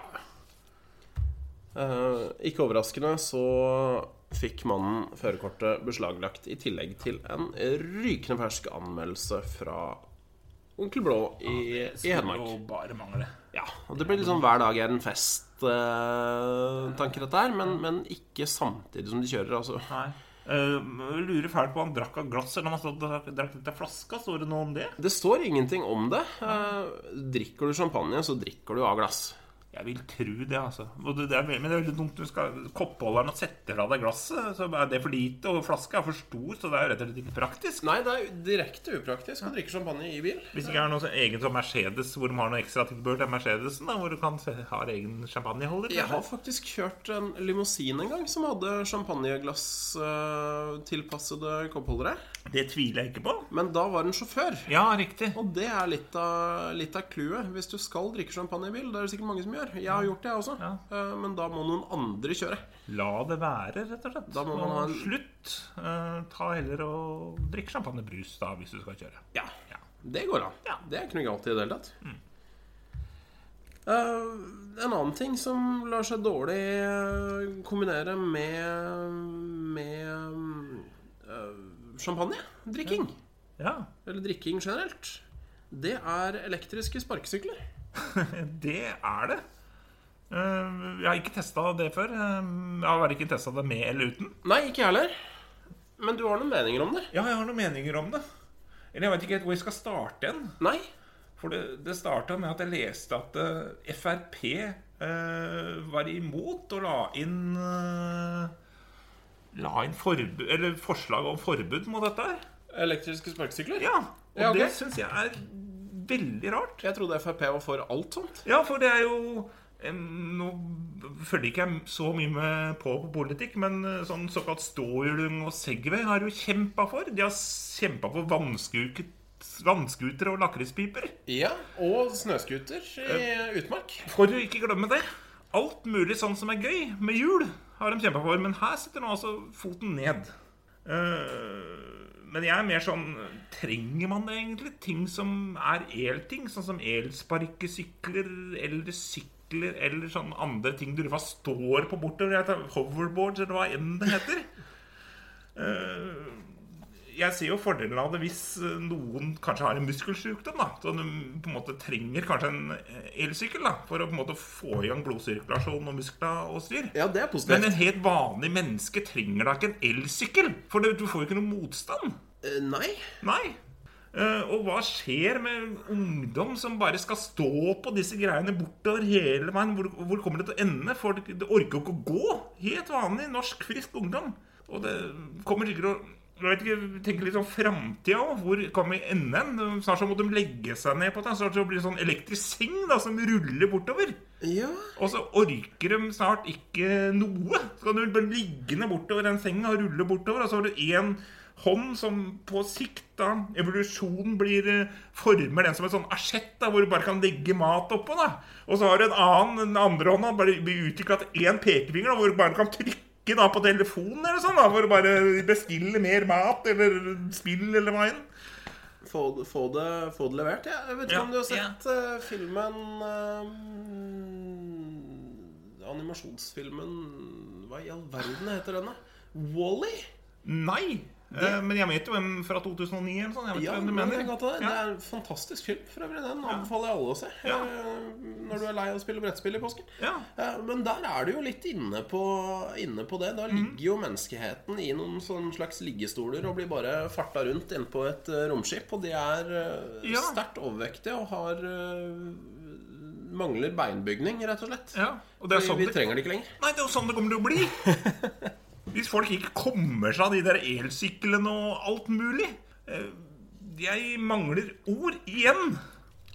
[SPEAKER 2] Eh, ikke overraskende så fikk mannen førerkortet beslaglagt i tillegg til en rykende fersk anmeldelse fra Onkel Blå i, i Hedmark.
[SPEAKER 1] Og bare mangle.
[SPEAKER 2] Ja, og det blir liksom hver dag er en fest-tanker, dette her, men, men ikke samtidig som de kjører, altså.
[SPEAKER 1] Nei. Eh, lurer fælt på om han drakk av glass eller om han drakk, drakk litt av flaska. Står det noe om det?
[SPEAKER 2] Det står ingenting om det. Eh, drikker du champagne, så drikker du av glass.
[SPEAKER 1] Jeg vil tro det, altså. Og det, det er, men det er veldig dumt du skal koppholderen og setter fra deg glasset. Så er det for lite, og flaska er for stor, så det er jo rett og slett ikke praktisk.
[SPEAKER 2] Nei, det er jo direkte upraktisk å drikke champagne i bil.
[SPEAKER 1] Hvis ikke det er noe så eget som Mercedes, hvor de har noe ekstra tilbehør til Mercedesen, da, hvor du kan se, har egen champagneholder.
[SPEAKER 2] Jeg har faktisk kjørt en limousin en gang som hadde champagneglass-tilpassede koppholdere.
[SPEAKER 1] Det tviler jeg ikke på.
[SPEAKER 2] Men da var det en sjåfør.
[SPEAKER 1] Ja, riktig.
[SPEAKER 2] Og det er litt av, litt av clouet. Hvis du skal drikke champagne i bil, det er det sikkert mange som gjør. Jeg har gjort det, jeg også. Eh, Men da må noen andre kjøre.
[SPEAKER 1] La det være, rett og slett.
[SPEAKER 2] Da må man
[SPEAKER 1] Og
[SPEAKER 2] ha en-
[SPEAKER 1] Slutt. Eh, ta heller og drikk champagnebrus, da, hvis du skal kjøre.
[SPEAKER 2] Ja.
[SPEAKER 1] Ja.
[SPEAKER 2] Det går an.
[SPEAKER 1] Ja. Mm.
[SPEAKER 2] Det er ikke noe galt i det hele tatt. Eh, en annen ting som lar seg dårlig eh, kombinere med, med eh, champagne. Drikking.
[SPEAKER 1] Ja,
[SPEAKER 2] eller drikking generelt, det er elektriske sparkesykler.
[SPEAKER 1] det er det. Eh, jeg har ikke testa det før. Eh, jeg har verken testa det med eller uten.
[SPEAKER 2] Nei, ikke jeg heller. Men du har noen meninger om det?
[SPEAKER 1] Ja, jeg har noen meninger om det. Eller jeg veit ikke helt hvor jeg skal starte igjen.
[SPEAKER 2] Nei?
[SPEAKER 1] For det, det starta med at jeg leste at eh, Frp eh, var imot å la inn eh, La inn forbu- eller forslag om forbud mot dette her.
[SPEAKER 2] Elektriske sparkesykler?
[SPEAKER 1] Ja, og
[SPEAKER 2] Ja, ok.
[SPEAKER 1] det syns jeg er veldig rart.
[SPEAKER 2] Jeg trodde Frp var for alt sånt.
[SPEAKER 1] Ja, for det er jo em, Nå følger ikke jeg så mye med på på politikk, men eh, sånn såkalt ståhjuling og Segway har jo kjempa for. De har kjempa for vannskuket vannskuter og lakrispiper.
[SPEAKER 2] Ja, Og snøscooter i utmark.
[SPEAKER 1] For å ikke glemme det. Alt mulig sånn som er gøy med jul, har de kjempa for. Men her sitter nå altså foten ned. Eh, men jeg er mer sånn Trenger man det egentlig? Ting som er elting? Sånn som elsparkesykler eller sykler eller sånn andre ting du bare står på bortover. jeg tar Hoverboards eller hva enn det heter. Eh, jeg ser jo fordelen av det hvis eh, noen kanskje har en muskelsykdom. da Så du på en måte trenger kanskje en eh, elsykkel da for å på en måte få i gang blodsirkulasjon og muskler og styr.
[SPEAKER 2] Ja, det er
[SPEAKER 1] Men
[SPEAKER 2] positivt.
[SPEAKER 1] en helt vanlig menneske trenger da ikke en elsykkel, for det- du får jo ikke noe motstand.
[SPEAKER 2] Eh, nei.
[SPEAKER 1] Nei. Eh, og hva skjer med ungdom som bare skal stå på disse greiene bortover hele veien? Hvor, hvor kommer det til å ende? For det, det orker jo ikke å gå. Helt vanlig norsk, frisk ungdom. Og det kommer sikkert å jeg vet ikke, tenker litt om framtida òg. Hvor kan vi ende hen? Snart så må de legge seg ned på det. Snart så blir det sånn elektrisk seng da, som ruller bortover.
[SPEAKER 2] Ja.
[SPEAKER 1] Og så orker de snart ikke noe. Så kan du bare ligge ned bortover den senga og rulle bortover, og så har du én hånd som på sikt, da, evolusjonen blir eh, Former den som et sånn asjett, da, hvor du bare kan legge mat oppå, da. Og så har du en annen, den andre hånda, bare blir utvikla til én pekefinger, da, hvor du bare kan trykke da på telefonen eller sånn, da, for å bare bestille mer mat eller spill eller hva enn.
[SPEAKER 2] Få, få, det, få det levert. Ja. Jeg vet ikke
[SPEAKER 1] Ja,
[SPEAKER 2] om du har sett eh, filmen ehm, eh, Animasjonsfilmen Hva i all verden heter den, da? Wally? -E?
[SPEAKER 1] Nei. Eh, Men jeg vet jo hvem fra 2009 eller sånn. Jeg vet
[SPEAKER 2] Ja,
[SPEAKER 1] ikke hvem
[SPEAKER 2] men
[SPEAKER 1] du
[SPEAKER 2] det,
[SPEAKER 1] mener.
[SPEAKER 2] er godt av det.
[SPEAKER 1] Ja.
[SPEAKER 2] det er en fantastisk film. For øvrig, Den anbefaler jeg alle å se
[SPEAKER 1] Ja.
[SPEAKER 2] eh, når du er lei av å spille brettspill i påsken.
[SPEAKER 1] Ja.
[SPEAKER 2] Eh, Men der er du jo litt inne på, inne på det. Da
[SPEAKER 1] Mhm.
[SPEAKER 2] ligger jo menneskeheten i noen sånn slags liggestoler og blir bare farta rundt inne på et eh, romskip. Og de er eh,
[SPEAKER 1] Ja.
[SPEAKER 2] sterkt overvektige og har eh, mangler beinbygning, rett og slett.
[SPEAKER 1] Ja, og det er
[SPEAKER 2] Vi-
[SPEAKER 1] sånn
[SPEAKER 2] vi
[SPEAKER 1] det-
[SPEAKER 2] trenger det ikke lenger.
[SPEAKER 1] Nei, det er jo sånn det kommer til å bli. Hvis folk ikke kommer seg av de der elsyklene og alt mulig. Eh, Jeg mangler ord igjen.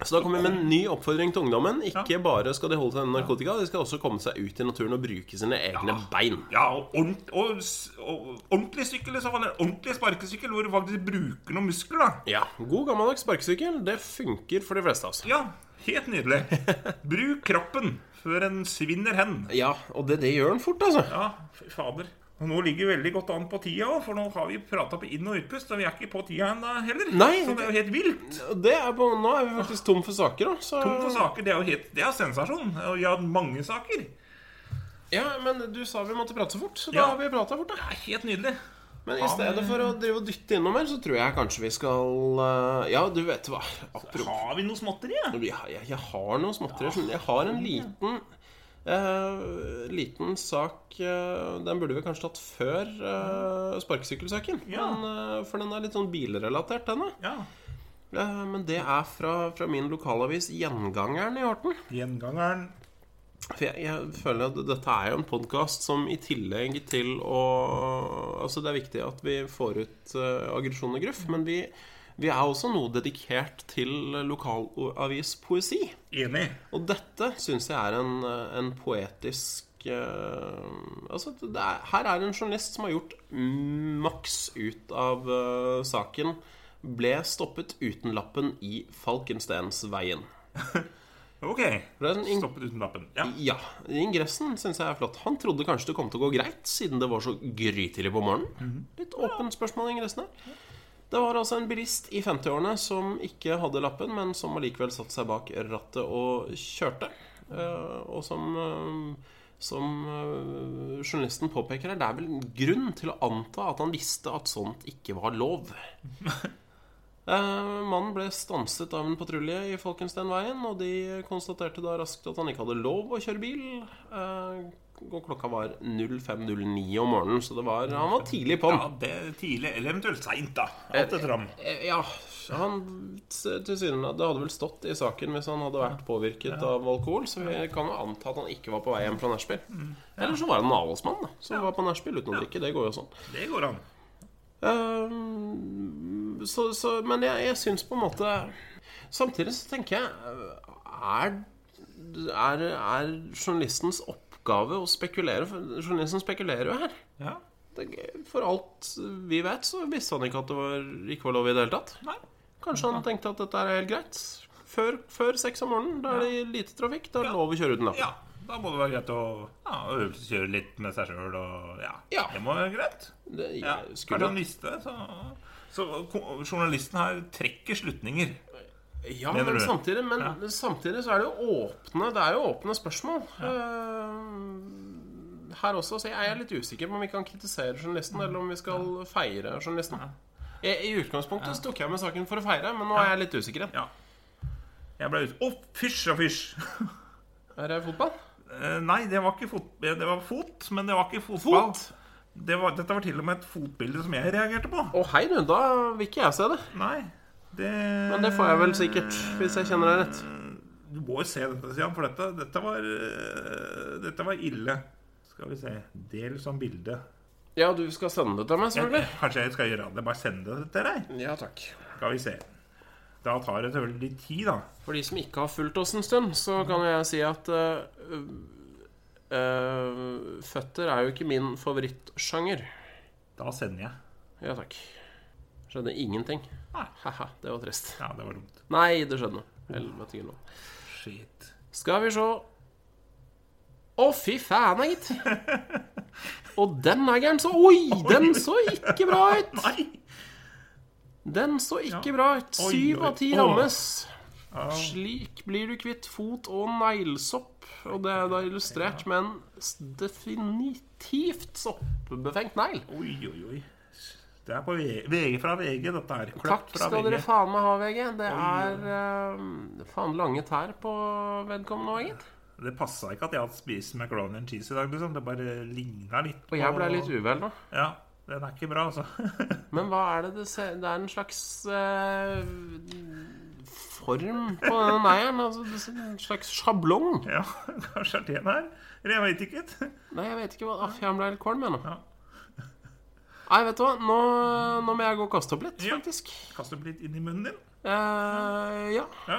[SPEAKER 2] Så da kommer vi med en ny oppfordring til ungdommen. Ikke bare skal de holde seg unna narkotika, de skal også komme seg ut i naturen og bruke sine egne bein.
[SPEAKER 1] Ja, og, ordent, og, s- og ordentlig sykkel i så fall. eller Ordentlig sparkesykkel hvor du faktisk bruker noen muskler, da.
[SPEAKER 2] Ja, God gammeldags sparkesykkel. Det funker for de fleste altså. av oss.
[SPEAKER 1] Ja, helt nydelig. Bruk kroppen før en svinner hen.
[SPEAKER 2] Ja, og det, det gjør den fort, altså.
[SPEAKER 1] Ja, fy fader. Og nå ligger vi veldig godt an på tida òg, for nå har vi prata på inn- og utpust, og vi er ikke på tida ennå heller.
[SPEAKER 2] Nei.
[SPEAKER 1] Så det er jo helt vilt.
[SPEAKER 2] Og Det er på, nå er vi faktisk tom for saker, da. Så,
[SPEAKER 1] Tom for saker, det er jo helt, det er sensasjon. Og vi har hatt mange saker.
[SPEAKER 2] Ja, men du sa vi måtte prate så fort, så da
[SPEAKER 1] Ja.
[SPEAKER 2] har vi prata fort, da.
[SPEAKER 1] Det er helt nydelig.
[SPEAKER 2] Men i stedet for å drive og dytte innom her, så tror jeg kanskje vi skal eh, Ja, du vet hva. Apropos
[SPEAKER 1] Har vi noe småtteri? Ja?
[SPEAKER 2] jeg, jeg, jeg har noe småtteri. men Jeg har en liten eh, liten sak eh, Den burde vi kanskje tatt før eh, sparkesykkelsaken.
[SPEAKER 1] Ja.
[SPEAKER 2] Men, eh, for den er litt sånn bilrelatert, denne.
[SPEAKER 1] ja.
[SPEAKER 2] Eh, men det er fra, fra min lokalavis Gjengangeren i Horten.
[SPEAKER 1] Gjengangeren.
[SPEAKER 2] For jeg, jeg føler at dette er jo en podkast som i tillegg til å Altså, det er viktig at vi får ut eh, aggresjon og gruff, men vi, vi er også noe dedikert til lokalavispoesi.
[SPEAKER 1] Enig.
[SPEAKER 2] Og dette syns jeg er en, eh, en poetisk eh, Altså, det er, her er en journalist som har gjort maks ut av eh, saken. Ble stoppet uten lappen i Falkenstensveien.
[SPEAKER 1] Ok.
[SPEAKER 2] Det er en in-
[SPEAKER 1] Stoppet uten lappen. Ja.
[SPEAKER 2] ja, ingressen syns jeg er flott. Han trodde kanskje det kom til å gå greit, siden det var så grytidlig på morgenen. Litt åpent spørsmål, i ingressen her. Det var altså en bilist i 50-årene som ikke hadde lappen, men som allikevel satte seg bak rattet og kjørte. Eh, Og som, eh, som eh, journalisten påpeker her, det er vel en grunn til å anta at han visste at sånt ikke var lov. Eh, Mannen ble stanset av en patrulje i Falkensteinveien, og de konstaterte da raskt at han ikke hadde lov å kjøre bil. Eh, Og klokka var 05.09 om morgenen, så det var, han var tidlig på'n.
[SPEAKER 1] Ja, det er tidlig, eller eventuelt seint, da. Alt etter ham.
[SPEAKER 2] Eh, Ja, han tilsynelatende Det hadde vel stått i saken hvis han hadde vært påvirket av alkohol, så vi kan jo anta at han ikke var på vei hjem fra nachspiel. Eller så var han en avholdsmann da, som var på nachspiel uten å drikke. Det går jo sånn.
[SPEAKER 1] Det går an.
[SPEAKER 2] Ehm, så, så, men jeg, jeg syns på en måte Samtidig så tenker jeg Er, er, er journalistens oppgave å spekulere? For journalisten spekulerer jo her.
[SPEAKER 1] Ja.
[SPEAKER 2] Det- For alt vi vet, så visste han ikke at det var, ikke var lov i det hele tatt.
[SPEAKER 1] Nei.
[SPEAKER 2] Kanskje han tenkte at dette er helt greit. Før, før seks om morgenen, da er det lite trafikk. Da er det lov å kjøre uten lapp.
[SPEAKER 1] Ja, da må det være greit å ja, øvelseskjøre litt med seg sjøl og ja.
[SPEAKER 2] Ja.
[SPEAKER 1] Det må være greit.
[SPEAKER 2] Det, jeg
[SPEAKER 1] Ja.
[SPEAKER 2] skulle-
[SPEAKER 1] Kanskje han visste det, så Så ko- journalisten her trekker slutninger.
[SPEAKER 2] Ja,
[SPEAKER 1] Mener
[SPEAKER 2] men
[SPEAKER 1] du?
[SPEAKER 2] samtidig, men samtidig så er det jo åpne Det er jo åpne spørsmål. Eh, Her også så jeg er litt usikker på om vi kan kritisere journalisten, eller om vi skal feire journalisten. I, I utgangspunktet så tok jeg med saken for å feire, men nå er jeg litt usikker igjen.
[SPEAKER 1] Ja. Jeg ble ute Å, fysj og fysj!
[SPEAKER 2] Er det fotball?
[SPEAKER 1] Eh, Nei, det var ikke fot... eh, Det var fot, men det var ikke fotball.
[SPEAKER 2] Fot?
[SPEAKER 1] Det var, dette var til og med et fotbilde som jeg reagerte på.
[SPEAKER 2] Å hei, du. Da vil ikke jeg se det.
[SPEAKER 1] Nei, det
[SPEAKER 2] Men det får jeg vel sikkert, hvis jeg kjenner deg rett.
[SPEAKER 1] Du må jo se dette, Stian, for dette, dette, var, eh, dette var ille. Skal vi se Del som bilde.
[SPEAKER 2] Ja, du skal sende det til meg, selvfølgelig.
[SPEAKER 1] Kanskje jeg skal gjøre det? Bare sende det til deg?
[SPEAKER 2] Ja, takk.
[SPEAKER 1] Skal vi se. Da tar det selvfølgelig litt tid, da.
[SPEAKER 2] For de som ikke har fulgt oss en stund, så kan jeg si at eh, eh, Føtter er jo ikke min favorittsjanger.
[SPEAKER 1] Da sender jeg.
[SPEAKER 2] Ja takk. Skjedde ingenting.
[SPEAKER 1] Nei.
[SPEAKER 2] Haha, det var trist.
[SPEAKER 1] Ja, det var dumt.
[SPEAKER 2] Nei, det skjedde noe. Helvete gullo.
[SPEAKER 1] Shit.
[SPEAKER 2] Skal vi sjå Å, fy faen, gitt. Og den er gæren, så Oi! Den så ikke bra ut!
[SPEAKER 1] Nei!
[SPEAKER 2] Den så ikke bra ut.
[SPEAKER 1] Oi,
[SPEAKER 2] Syv
[SPEAKER 1] oi,
[SPEAKER 2] av ti
[SPEAKER 1] oi.
[SPEAKER 2] rammes. Slik blir du kvitt fot og neglesopp. Og det er da illustrert med en s- definitivt soppbefengt negl.
[SPEAKER 1] Oi, oi, oi. Det er på VG, VG fra VG, dette her.
[SPEAKER 2] Takk
[SPEAKER 1] Kløpt fra
[SPEAKER 2] skal dere
[SPEAKER 1] VG.
[SPEAKER 2] faen meg ha, VG. Det er eh, faen lange tær på vedkommende òg, gitt.
[SPEAKER 1] Det passa ikke at jeg hadde spist macaroni and cheese i dag, liksom. Det bare ligna litt.
[SPEAKER 2] Og jeg ble litt uvel nå.
[SPEAKER 1] Ja. Den er ikke bra, altså.
[SPEAKER 2] Men hva er det det ser Det er en slags eh, form på den eieren. Altså, det ser- en slags sjablong.
[SPEAKER 1] ja, kanskje er det den her? Eller jeg veit ikke.
[SPEAKER 2] Nei, jeg vet ikke hva Aff, jeg ble helt kvalm, jeg nå.
[SPEAKER 1] Ja.
[SPEAKER 2] Nei, vet du hva, nå, nå må jeg gå og kaste opp litt,
[SPEAKER 1] Ja.
[SPEAKER 2] faktisk.
[SPEAKER 1] Kast opp litt inn i munnen din.
[SPEAKER 2] Eh, ja.
[SPEAKER 1] Ja,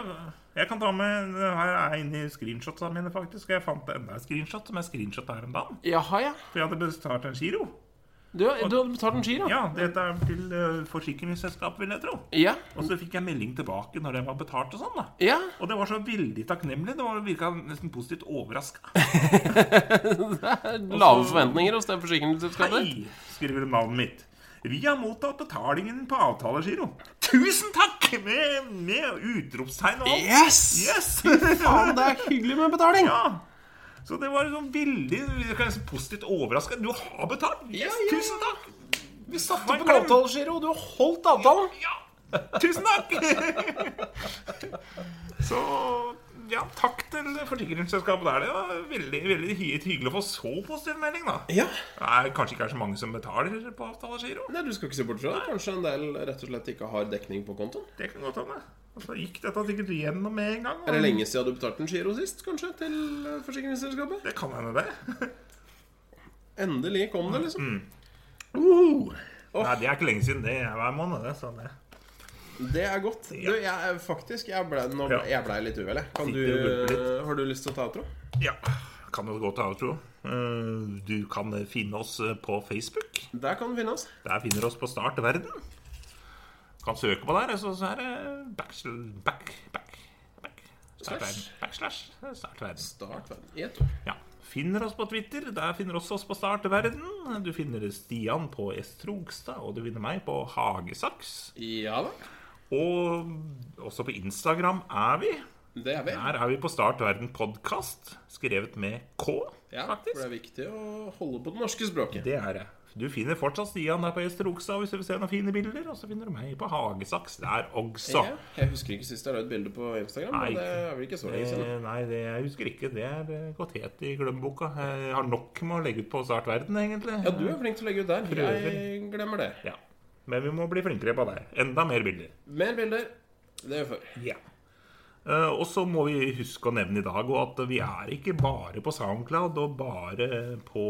[SPEAKER 1] jeg kan ta med det Her er jeg inne i screenshotsa mine, faktisk. Jeg fant enda et screenshot som jeg screenshotta her om dagen.
[SPEAKER 2] Jaha, ja.
[SPEAKER 1] For jeg hadde bestart en giro.
[SPEAKER 2] Du, du hadde betalt en ski, da?
[SPEAKER 1] Ja, dette er til eh, forsikringsselskap, vil jeg tro.
[SPEAKER 2] Ja.
[SPEAKER 1] Og så fikk jeg melding tilbake når den var betalt og sånn, da.
[SPEAKER 2] ja.
[SPEAKER 1] Og det var så veldig takknemlig. Det var virka nesten positivt overraska.
[SPEAKER 2] Lave forventninger hos det forsikringsselskapet.
[SPEAKER 1] Hei, skriver navnet mitt. Vi har mottatt betalingen på avtalegiro. Tusen takk! Med, med utropstegn og alt.
[SPEAKER 2] Yes!
[SPEAKER 1] Yes!
[SPEAKER 2] Faen, det er hyggelig med betaling.
[SPEAKER 1] Ja. Så det var sånn veldig jeg kan si positivt overraska. Du har betalt! Yes,
[SPEAKER 2] Ja, ja.
[SPEAKER 1] Tusen takk! Vi satte
[SPEAKER 2] Takk for avtalen, Giro. Du har holdt avtalen.
[SPEAKER 1] Ja! Tusen takk! så ja, takk til forsikringsselskapet der. Det var veldig, veldig hy- hyggelig å få så positiv melding, da.
[SPEAKER 2] Ja.
[SPEAKER 1] Nei, kanskje ikke er så mange som betaler på avtalegiro.
[SPEAKER 2] Nei, Du skal ikke se bort fra det. Kanskje en del rett og slett ikke har dekning på kontoen.
[SPEAKER 1] Det kan godt hende. Og så gikk dette sikkert gjennom med en gang. og-
[SPEAKER 2] Er det lenge siden du betalte en giro sist, kanskje? Til eh, forsikringsselskapet?
[SPEAKER 1] Det kan hende, det.
[SPEAKER 2] Endelig kom
[SPEAKER 1] Mm.
[SPEAKER 2] det, liksom. Åh.
[SPEAKER 1] Uh-huh. Nei, det er ikke lenge siden. Det er hver måned, det. Så det.
[SPEAKER 2] Det er godt. Du, jeg er faktisk Jeg ble, nå,
[SPEAKER 1] Ja.
[SPEAKER 2] jeg ble litt uvel, jeg. Kan du,
[SPEAKER 1] Sitter og gulper litt.
[SPEAKER 2] har du lyst til å ta outro?
[SPEAKER 1] Ja. Kan jo gå til outro. Eh, Du kan finne oss eh, på Facebook.
[SPEAKER 2] Der kan du finne oss.
[SPEAKER 1] Der finner du oss på Start verden. Kan søke på der, så, så er det backsl- back, back, back. Start
[SPEAKER 2] Slash.
[SPEAKER 1] verden. Backslash. Start verden.
[SPEAKER 2] Start verden i et ord.
[SPEAKER 1] Ja. Finner oss på Twitter. Der finner du også oss på Start verden. Du finner Stian på S. Trogstad, og du finner meg på Hagesaks.
[SPEAKER 2] Ja da.
[SPEAKER 1] Og også på Instagram er vi.
[SPEAKER 2] Det er vi.
[SPEAKER 1] Her er vi på Start verden podkast, skrevet med K,
[SPEAKER 2] Ja, for
[SPEAKER 1] faktisk.
[SPEAKER 2] det er viktig å holde på det norske språket.
[SPEAKER 1] Det er det. Du finner fortsatt Stian der på Ester Okstad hvis du vil se noen fine bilder. Og så finner du meg på Hagesaks der også.
[SPEAKER 2] Ja, jeg husker ikke sist jeg la ut bilde på Instagram,
[SPEAKER 1] Nei.
[SPEAKER 2] men det er vel ikke så lenge siden.
[SPEAKER 1] Eh, Nei, det jeg husker ikke. Det er eh, gått helt i glemmeboka. Jeg har nok med å legge ut på Start verden, egentlig.
[SPEAKER 2] Ja, du er flink til å legge ut der. Jeg glemmer det.
[SPEAKER 1] Ja. Men vi må bli flinkere på det. Enda mer bilder.
[SPEAKER 2] Mer bilder. Det gjør vi før.
[SPEAKER 1] Ja. Eh, Og så må vi huske å nevne i dag også at vi er ikke bare på SoundCloud og bare på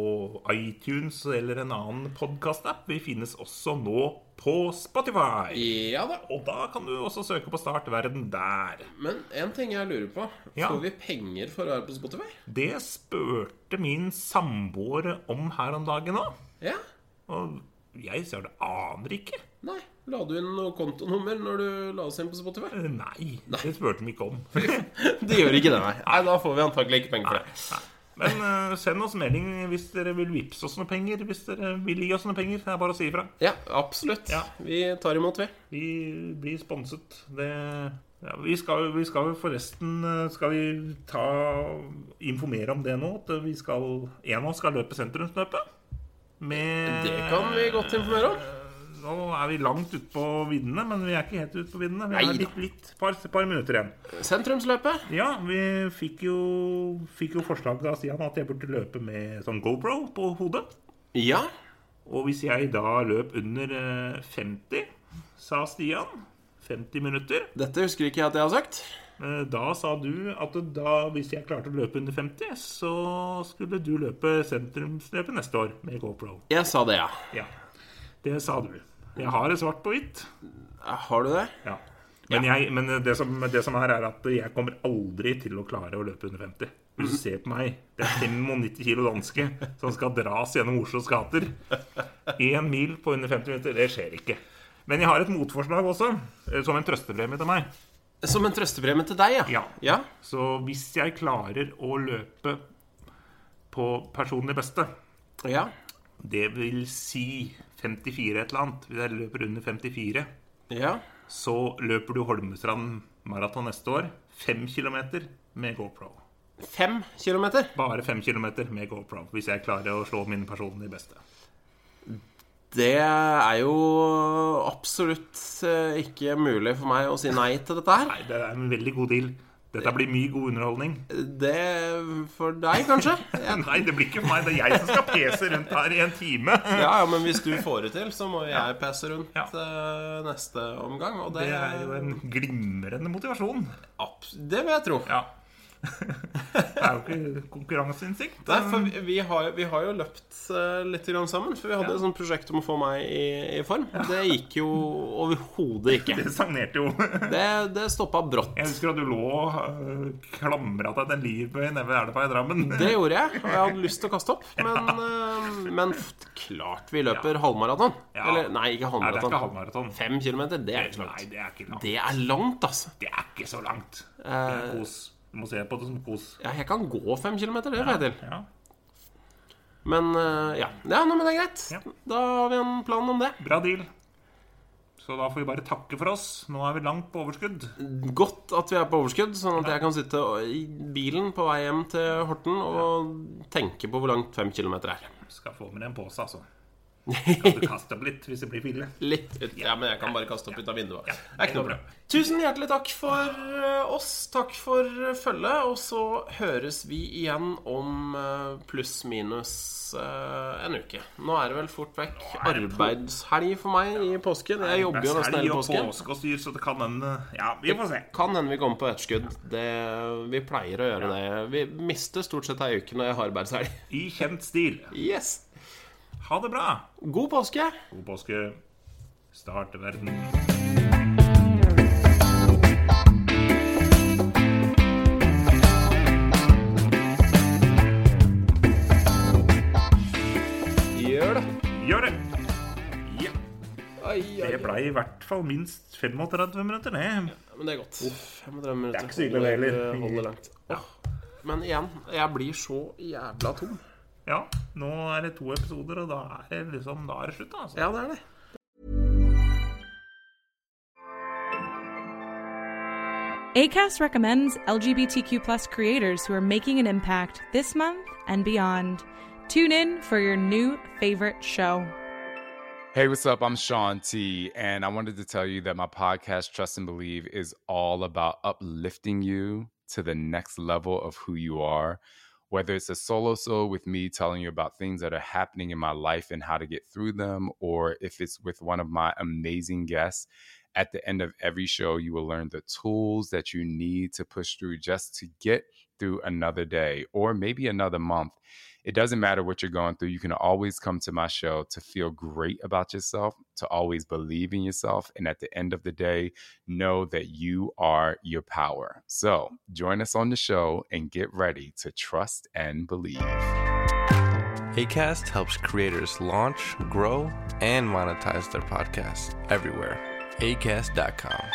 [SPEAKER 1] iTunes eller en annen podkast-app. Vi finnes også nå på Spotify.
[SPEAKER 2] Ja da.
[SPEAKER 1] Og da kan du også søke på Start verden der.
[SPEAKER 2] Men en ting jeg lurer på.
[SPEAKER 1] Ja.
[SPEAKER 2] Får vi penger for å være på Spotify?
[SPEAKER 1] Det spurte min samboer om her om dagen òg.
[SPEAKER 2] Ja?
[SPEAKER 1] Og jeg ser det aner ikke.
[SPEAKER 2] Nei. La du inn noe kontonummer når du la oss inn på Spotify?
[SPEAKER 1] Eh, Nei, det spurte de ikke om.
[SPEAKER 2] Det gjør ikke det, nei. Nei, Da får vi antakelig ikke penger for det.
[SPEAKER 1] Nei. Men eh, send oss melding hvis dere vil vippse oss noen penger. Hvis dere vil gi oss noen penger. Det er bare å si ifra.
[SPEAKER 2] Ja, absolutt.
[SPEAKER 1] Ja.
[SPEAKER 2] Vi tar imot, vi.
[SPEAKER 1] Vi blir sponset. Det ja, vi, skal, jo- vi skal jo forresten eh, Skal vi ta informere om det nå? At vi skal En av oss skal løpe sentrumsløpet. Med
[SPEAKER 2] Det kan vi godt informere om.
[SPEAKER 1] Nå er vi langt ute på viddene, men vi er ikke helt ute på viddene. Vi
[SPEAKER 2] Neida.
[SPEAKER 1] har litt, litt par, par minutter igjen.
[SPEAKER 2] Sentrumsløpet.
[SPEAKER 1] Ja, vi fikk jo, fikk jo forslag av Stian at jeg burde løpe med sånn GoPro på hodet.
[SPEAKER 2] Ja.
[SPEAKER 1] Og hvis jeg da løp under eh, 50, sa Stian, 50 minutter,
[SPEAKER 2] Dette husker ikke jeg at jeg har sagt.
[SPEAKER 1] eh, da sa du at da, hvis jeg klarte å løpe under 50, så skulle du løpe sentrumsløpet neste år med GoPro.
[SPEAKER 2] Jeg sa det, ja.
[SPEAKER 1] Ja, det sa du. Jeg har det svart på hvitt.
[SPEAKER 2] Har du det?
[SPEAKER 1] Ja. Men, jeg, men det, som, det som er, er at jeg kommer aldri til å klare å løpe under 50. Hvis du ser på meg, det er 95 kilo danske som skal dras gjennom Oslos gater. Én mil på under 50 minutter, det skjer ikke. Men jeg har et motforslag også, eh, som en trøstepremie til meg.
[SPEAKER 2] Som en trøstepremie til deg, ja.
[SPEAKER 1] Ja.
[SPEAKER 2] ja.
[SPEAKER 1] Så hvis jeg klarer å løpe på personlig beste,
[SPEAKER 2] Ja.
[SPEAKER 1] det vil si 54 et eller annet, hvis jeg løper under 54
[SPEAKER 2] ja.
[SPEAKER 1] så løper du Holmestrand maraton neste år. Fem kilometer med GoPro.
[SPEAKER 2] Fem kilometer.
[SPEAKER 1] Bare fem kilometer med GoPro, hvis jeg klarer å slå min personlige beste.
[SPEAKER 2] Det er jo absolutt eh, ikke mulig for meg å si nei til dette her.
[SPEAKER 1] Nei, det er en veldig god deal. Dette blir mye god underholdning.
[SPEAKER 2] Det for deg, kanskje? Ja,
[SPEAKER 1] Nei, det blir ikke for meg. Det er jeg som skal pese rundt her i en time.
[SPEAKER 2] ja, ja, men hvis du får det til, så må jeg passe rundt
[SPEAKER 1] Ja.
[SPEAKER 2] eh, neste omgang. Og det,
[SPEAKER 1] Det er jo en glimrende motivasjon.
[SPEAKER 2] abs- det vil jeg tro.
[SPEAKER 1] Ja. Det er jo ikke konkurranseinstinkt.
[SPEAKER 2] Nei, for vi, vi, har, jo- vi har jo løpt eh, litt grann sammen, for vi hadde et sånt prosjekt om å få meg i, i form. Det gikk jo overhodet ikke.
[SPEAKER 1] Det stagnerte jo.
[SPEAKER 2] Det, det stoppa brått.
[SPEAKER 1] Jeg husker at du lå og klamra deg til en livbøy nede ved elva i Drammen.
[SPEAKER 2] Det gjorde jeg, og jeg hadde lyst til å kaste opp, men, eh, men f- klart vi løper halvmaraton.
[SPEAKER 1] Ja.
[SPEAKER 2] Eller nei, ikke
[SPEAKER 1] Nei, det er ikke
[SPEAKER 2] halvmaraton.
[SPEAKER 1] halvmaraton.
[SPEAKER 2] Fem kilometer, det er ikke så
[SPEAKER 1] Nei,
[SPEAKER 2] langt.
[SPEAKER 1] det er ikke langt.
[SPEAKER 2] Det Eh. er langt, altså.
[SPEAKER 1] Det er ikke så langt. Det er kos. Du må se på det som kos.
[SPEAKER 2] Ja, jeg kan gå fem kilometer, det får jeg til.
[SPEAKER 1] Ja.
[SPEAKER 2] Men eh, ja. ja nei, men det er greit.
[SPEAKER 1] Ja.
[SPEAKER 2] Da har vi en plan om det.
[SPEAKER 1] Bra deal. Så da får vi bare takke for oss. Nå er vi langt på overskudd.
[SPEAKER 2] Godt at vi er på overskudd, sånn at jeg kan sitte i bilen på vei hjem til Horten og tenke på hvor langt fem kilometer er.
[SPEAKER 1] Skal få med deg en pose, altså. Kan du kaste opp litt hvis det blir fille?
[SPEAKER 2] Litt ut. Ja, men jeg kan bare kaste opp ut av vinduet. Det er
[SPEAKER 1] det
[SPEAKER 2] ikke noe
[SPEAKER 1] går
[SPEAKER 2] problem. Tusen hjertelig takk for eh, oss. Takk for eh, følget. Og så høres vi igjen om eh, pluss-minus eh, en uke. Nå er det vel fort vekk arbeidshelg for meg i påsken. Jeg jobber jo nesten hele påsken.
[SPEAKER 1] påske og styr, så det kan hende Ja, vi får se.
[SPEAKER 2] Kan hende vi kommer på etterskudd. Det, vi pleier å gjøre det. Vi mister stort sett ei uke når jeg har arbeidshelg.
[SPEAKER 1] I kjent stil.
[SPEAKER 2] Yes.
[SPEAKER 1] Ha det bra.
[SPEAKER 2] God påske!
[SPEAKER 1] God påske. Starte verden.
[SPEAKER 2] Gjør det.
[SPEAKER 1] Gjør det! Ja.
[SPEAKER 2] Ai, ai.
[SPEAKER 1] Det blei i hvert fall minst 35 minutter, det.
[SPEAKER 2] Men det er godt. det
[SPEAKER 1] er ikke så ille, det heller.
[SPEAKER 2] Holder langt. Åh. Men igjen, jeg blir så jævla tom.
[SPEAKER 1] Ja, nå er det to episoder, og da er det liksom Da er det slutt, altså.
[SPEAKER 2] Ja, det er det.
[SPEAKER 4] ACAST recommends LGBTQ plus creators who are making an impact this month and beyond. Tune in for your new favorite show.
[SPEAKER 5] Hey, what's up? I'm Sean T, and I wanted to tell you that my podcast, Trust and Believe, is all about uplifting you to the next level of who you are. Whether it's a solo soul with me telling you about things that are happening in my life and how to get through them, or if it's with one of my amazing guests, at the end of every show, you will learn the tools that you need to push through just to get through another day or maybe another month. It doesn't matter what you're going through. You can always come to my show to feel great about yourself, to always believe in yourself. And at the end of the day, know that you are your power. So join us on the show and get ready to trust and believe.
[SPEAKER 6] ACAST helps creators launch, grow, and monetize their podcasts everywhere. ACAST.com.